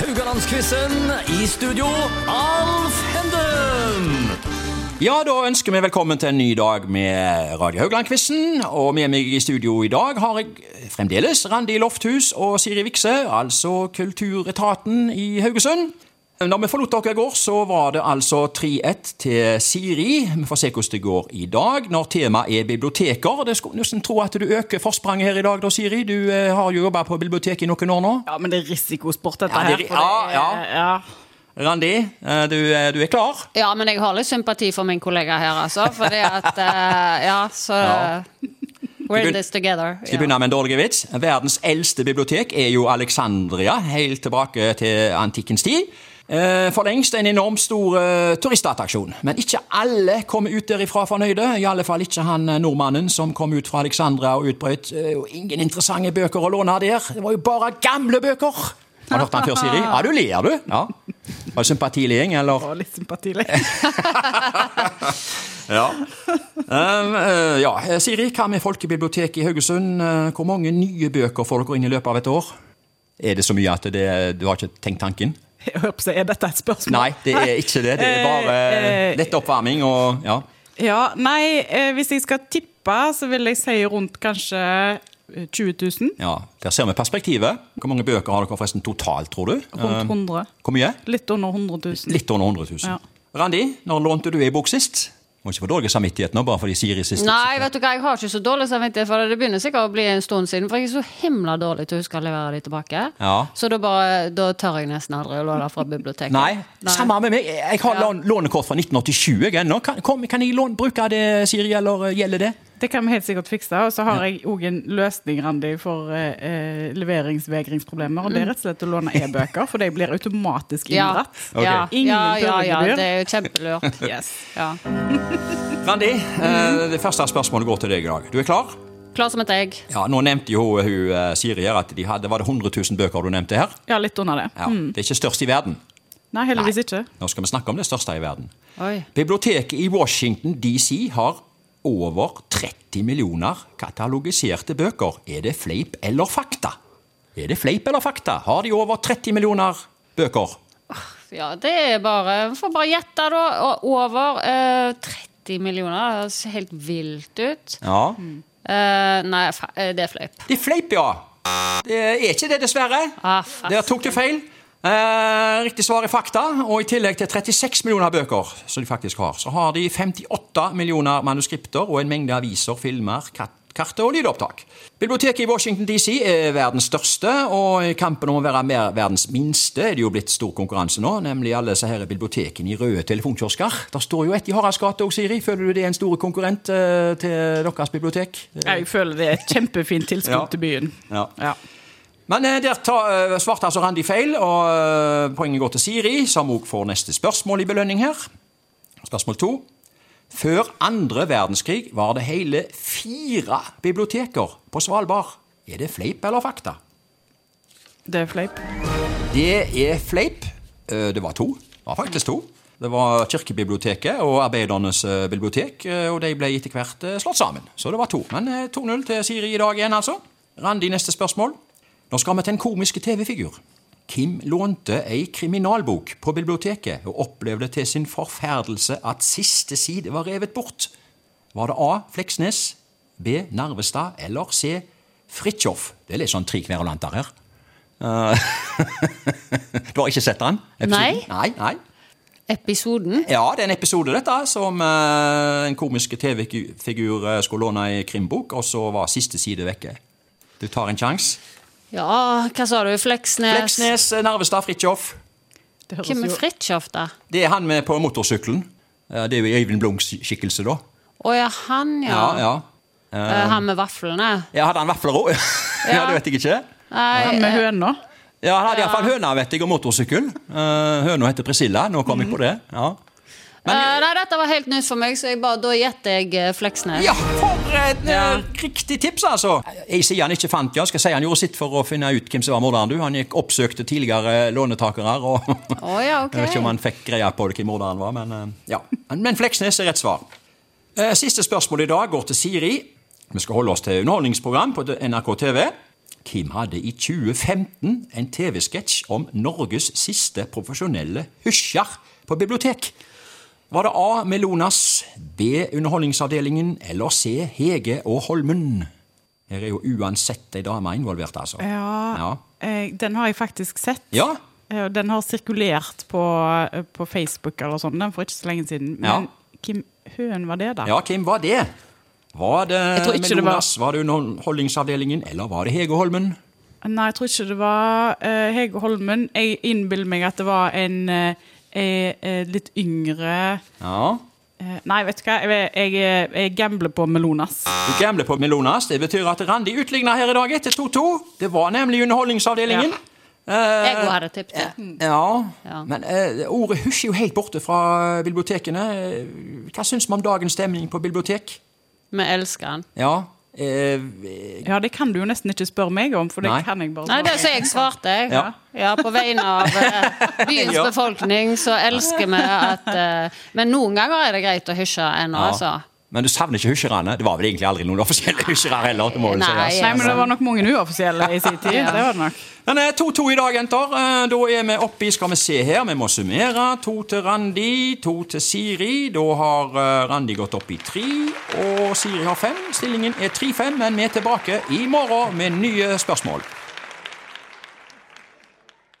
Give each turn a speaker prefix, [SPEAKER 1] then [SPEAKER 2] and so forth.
[SPEAKER 1] Haugalandsquizen. I studio, Alf Henden.
[SPEAKER 2] Ja, da ønsker vi velkommen til en ny dag med Radio Haugland-quizen. Og med meg i studio i dag har jeg fremdeles Randi Lofthus og Siri Vikse, altså Kulturetaten i Haugesund. Da vi forlot dere i går, så var det altså 3-1 til Siri. Vi får se hvordan det går i dag, når temaet er biblioteker. Det skulle nesten tro at du øker forspranget her i dag, da, Siri. Du eh, har jo jobba på biblioteket i noen år nå.
[SPEAKER 3] Ja, men det er risikosport, dette
[SPEAKER 2] Ja, det er
[SPEAKER 3] her.
[SPEAKER 2] ri-
[SPEAKER 3] for det
[SPEAKER 2] ja,
[SPEAKER 3] er-
[SPEAKER 2] Randi, eh, du, eh, du er klar?
[SPEAKER 4] Ja, men jeg har litt sympati for min kollega her, altså. Fordi at eh, Ja, så
[SPEAKER 2] Ja.
[SPEAKER 4] We're
[SPEAKER 2] begyn-
[SPEAKER 4] in this together.
[SPEAKER 2] Skal vi begynne med en dårlig vits? Verdens eldste bibliotek er jo Alexandria, helt tilbake til antikkens tid. Eh, For lengst en enormt stor eh, turistattraksjon. Men ikke alle kom ut derifra fornøyde. I alle fall ikke han eh, nordmannen som kom ut fra Alexandria og utbrøt eh, «Og ingen interessante bøker å låne der. Det var jo bare gamle bøker! Har du hørt han før, Siri? Ja, du ler, du. Ja. Var det sympatileing, eller?
[SPEAKER 3] Og litt sympati. litt.
[SPEAKER 2] Ja. Um, eh, ja. Siri, hva med Folkebiblioteket i Haugesund? Eh, Hvor mange nye bøker får dere inn i løpet av et år? Er det så mye at det, du har ikke tenkt tanken?
[SPEAKER 3] Jeg håper å si, Er dette et spørsmål?
[SPEAKER 2] Nei, det er ikke det. Det er bare
[SPEAKER 3] Eh, eh,
[SPEAKER 2] lett oppvarming og ja.
[SPEAKER 3] Ja, nei, eh, hvis jeg skal tippe, så vil jeg si rundt kanskje eh, 20 000.
[SPEAKER 2] ja. Der ser vi perspektivet. Hvor mange bøker har dere forresten totalt, tror du?
[SPEAKER 3] Rundt 100.
[SPEAKER 2] Hvor mye?
[SPEAKER 3] Litt under 100 000.
[SPEAKER 2] Litt under 100 000.
[SPEAKER 3] Ja.
[SPEAKER 2] Randi, når lånte du ei bok sist? Må ikke få dårlig samvittighet nå, bare fordi Siri sist.
[SPEAKER 4] Nei, vet du hva, jeg har ikke så dårlig samvittighet for det. Det begynner sikkert å bli en stund siden, for jeg er så himla dårlig til å huske å levere de tilbake.
[SPEAKER 2] Ja.
[SPEAKER 4] Så da bare Da tør jeg nesten aldri å låne fra biblioteket.
[SPEAKER 2] Nei, samme med meg. Jeg har lån- lånekort fra 1987 jeg ennå. Kan, kom, kan jeg låne, bruke det, Siri, eller eh, gjelder det?
[SPEAKER 3] Det kan vi helt sikkert fikse. Og så har jeg òg en løsning Randi, for eh, eh, leveringsvegringsproblemer. Og det er rett og slett å låne e-bøker, for de blir automatisk
[SPEAKER 4] Ja,
[SPEAKER 3] inndratt.
[SPEAKER 2] Ok.
[SPEAKER 4] ja,
[SPEAKER 3] Ingen
[SPEAKER 4] ja, ja, ja,
[SPEAKER 3] purregebyr.
[SPEAKER 4] det er jo kjempelurt.
[SPEAKER 3] Yes.
[SPEAKER 4] Ja.
[SPEAKER 2] Randi, eh, det første spørsmålet går til deg i dag. Du er klar?
[SPEAKER 4] Klar som et egg.
[SPEAKER 2] Ja, Nå nevnte jo hun, hun eh, Siri her at de hadde, var det 100 000 bøker du nevnte her.
[SPEAKER 3] Ja, litt under det.
[SPEAKER 2] Ja, Det er ikke størst i verden.
[SPEAKER 3] Nei, heldigvis ikke.
[SPEAKER 2] Nå skal vi snakke om det største i verden.
[SPEAKER 4] Oi.
[SPEAKER 2] Biblioteket i Washington DC har over 30 millioner katalogiserte bøker. Er det fleip eller fakta? Er det fleip eller fakta? Har de over 30 millioner bøker?
[SPEAKER 4] Ja, det er bare Får bare gjette, da. Og Over eh, 30 millioner. Det høres helt vilt ut.
[SPEAKER 2] Ja.
[SPEAKER 4] Eh, nei, fa eh, det er fleip.
[SPEAKER 2] De fleip, ja. Det er ikke det, dessverre.
[SPEAKER 4] Ah, fast.
[SPEAKER 2] Der tok du feil. Eh, riktig svar er fakta. Og i tillegg til 36 millioner bøker, som de faktisk har, så har de 58 millioner manuskripter og en mengde aviser, filmer, kat karter og lydopptak. Biblioteket i Washington DC er verdens største, og i kampen om å være mer verdens minste er det jo blitt stor konkurranse nå, nemlig alle disse her bibliotekene i røde telefonkiosker. Der står jo et i Haralds gate òg, Siri. Føler du det er en stor konkurrent eh, til deres bibliotek?
[SPEAKER 3] Jeg føler det er et kjempefint tilskudd
[SPEAKER 2] Ja.
[SPEAKER 3] til byen.
[SPEAKER 2] Ja.
[SPEAKER 3] Ja.
[SPEAKER 2] Men eh, der ta, eh, svarte altså Randi feil, og eh, poenget går til Siri, som òg får neste spørsmål i belønning her. Spørsmål to. Før andre verdenskrig var det hele fire biblioteker på Svalbard. Er det fleip eller fakta?
[SPEAKER 3] Det er fleip.
[SPEAKER 2] Det er fleip. Eh, Det var to. Det var faktisk to. Det var Kirkebiblioteket og Arbeidernes eh, bibliotek, eh, og de ble etter hvert eh, slått sammen. Så det var to. Men eh, 2-0 til Siri i dag igjen, altså. Randi, neste spørsmål. Nå skal vi til en komisk TV-figur. Kim lånte ei kriminalbok på biblioteket og opplevde til sin forferdelse at siste side var revet bort. Var det A. Fleksnes, B. Narvestad eller C. Fridtjof? Det er litt sånn tre kverulanter her. Du har ikke sett den? episoden? Nei, nei.
[SPEAKER 4] Episoden?
[SPEAKER 2] Ja, det er en episode dette, som eh, en komisk TV-figur eh, skulle låne i krimbok, og så var siste side vekke. Du tar en sjanse.
[SPEAKER 4] Ja, hva sa du? Fleksnes?
[SPEAKER 2] Fleksnes, eh, Narvestad, Fridtjof.
[SPEAKER 3] Det høres
[SPEAKER 4] Hvem er
[SPEAKER 3] jo-
[SPEAKER 4] Fridtjof, da?
[SPEAKER 2] Det er han med på motorsykkelen. Eh, Det er jo Øyvind Blunks skikkelse, da.
[SPEAKER 4] Å ja, han, ja.
[SPEAKER 2] Ja, ja.
[SPEAKER 4] Eh, han med vaflene.
[SPEAKER 2] ja hadde han vafler òg? ja, det vet jeg ikke.
[SPEAKER 3] Ja,
[SPEAKER 4] Eh,
[SPEAKER 3] med høna.
[SPEAKER 2] Ja, Han hadde iallfall høna, vet jeg, og motorsykkel. Eh, høna heter Priscilla. Nå kom jeg på det. Ja.
[SPEAKER 4] Eh, nei, dette var helt nytt for meg, så jeg bare, da gjetter jeg eh, Fleksnes.
[SPEAKER 2] Ja, for et eh, riktig tips, altså! Jeg sier han ikke fant ja, skal si han gjorde sitt for å finne ut hvem som var morderen. du. Han gikk oppsøkte tidligere lånetakere og
[SPEAKER 4] Å, ja, ok.
[SPEAKER 2] Jeg vet ikke om han fikk greia på det, hvem morderen var, men eh, ja. Men Fleksnes er rett svar. Eh, Siste spørsmål i dag går til Siri. Vi skal holde oss til underholdningsprogram på NRK TV. Kim hadde i 2015 en TV-sketsj om Norges siste profesjonelle hysjer på bibliotek. Var det A. Melonas, B. Underholdningsavdelingen eller C. Hege og Holmen? Her er jo uansett ei dame involvert, altså.
[SPEAKER 3] Ja,
[SPEAKER 2] Ja.
[SPEAKER 3] eh, Den har jeg faktisk sett.
[SPEAKER 2] Ja.
[SPEAKER 3] Eh, og Den har sirkulert på, eh, på Facebook eller sånn den for ikke så lenge siden.
[SPEAKER 2] Ja.
[SPEAKER 3] Men hvem høen var det, da?
[SPEAKER 2] Ja, hvem var det? Var det
[SPEAKER 3] Jeg tror ikke det var-
[SPEAKER 2] Melonas, var... det Underholdningsavdelingen, eller var det Hege Holmen?
[SPEAKER 3] Nei, jeg tror ikke det var eh, Hege Holmen. Jeg innbiller meg at det var en eh, eh, eh, litt yngre
[SPEAKER 2] Ja.
[SPEAKER 3] eh, Nei, vet du hva, jeg, jeg, eh, jeg gambler på Melonas.
[SPEAKER 2] Du gambler på Melonas. Det betyr at Randi utligna her i dag etter 2-2. Det var nemlig Underholdningsavdelingen.
[SPEAKER 4] Jeg òg hadde tippet det.
[SPEAKER 2] Ja,
[SPEAKER 4] Ja.
[SPEAKER 2] men eh, ordet hysj er jo helt borte fra bibliotekene. Eh, Hva syns vi om dagens stemning på bibliotek?
[SPEAKER 4] Vi elsker han.
[SPEAKER 2] Ja, eh,
[SPEAKER 3] Ja, det kan du jo nesten ikke spørre meg om, for det
[SPEAKER 2] Nei.
[SPEAKER 3] kan jeg bare
[SPEAKER 4] Nei, det
[SPEAKER 3] svare.
[SPEAKER 4] er så jeg svarte, jeg.
[SPEAKER 2] Ja.
[SPEAKER 4] Ja. på vegne av eh, byens
[SPEAKER 2] Ja.
[SPEAKER 4] befolkning så elsker vi at eh, Men noen ganger er det greit å hysje ennå,
[SPEAKER 2] ja.
[SPEAKER 4] altså.
[SPEAKER 2] Men du savner ikke hysjerne? Det var vel egentlig aldri noen offisielle hysjere heller? det må vel
[SPEAKER 4] Nei, altså.
[SPEAKER 2] sies.
[SPEAKER 3] Nei, men det var nok mange uoffisielle i sin tid.
[SPEAKER 4] Ja.
[SPEAKER 3] Det var det nok.
[SPEAKER 2] Men eh, 2-2 i dag, jenter. Eh, Da er vi oppe i Skal vi se her, vi må summere. To til Randi, to til Siri. Da har eh, Randi gått opp i tre, og Siri har fem. Stillingen er 3-5, men vi er tilbake i morgen med nye spørsmål.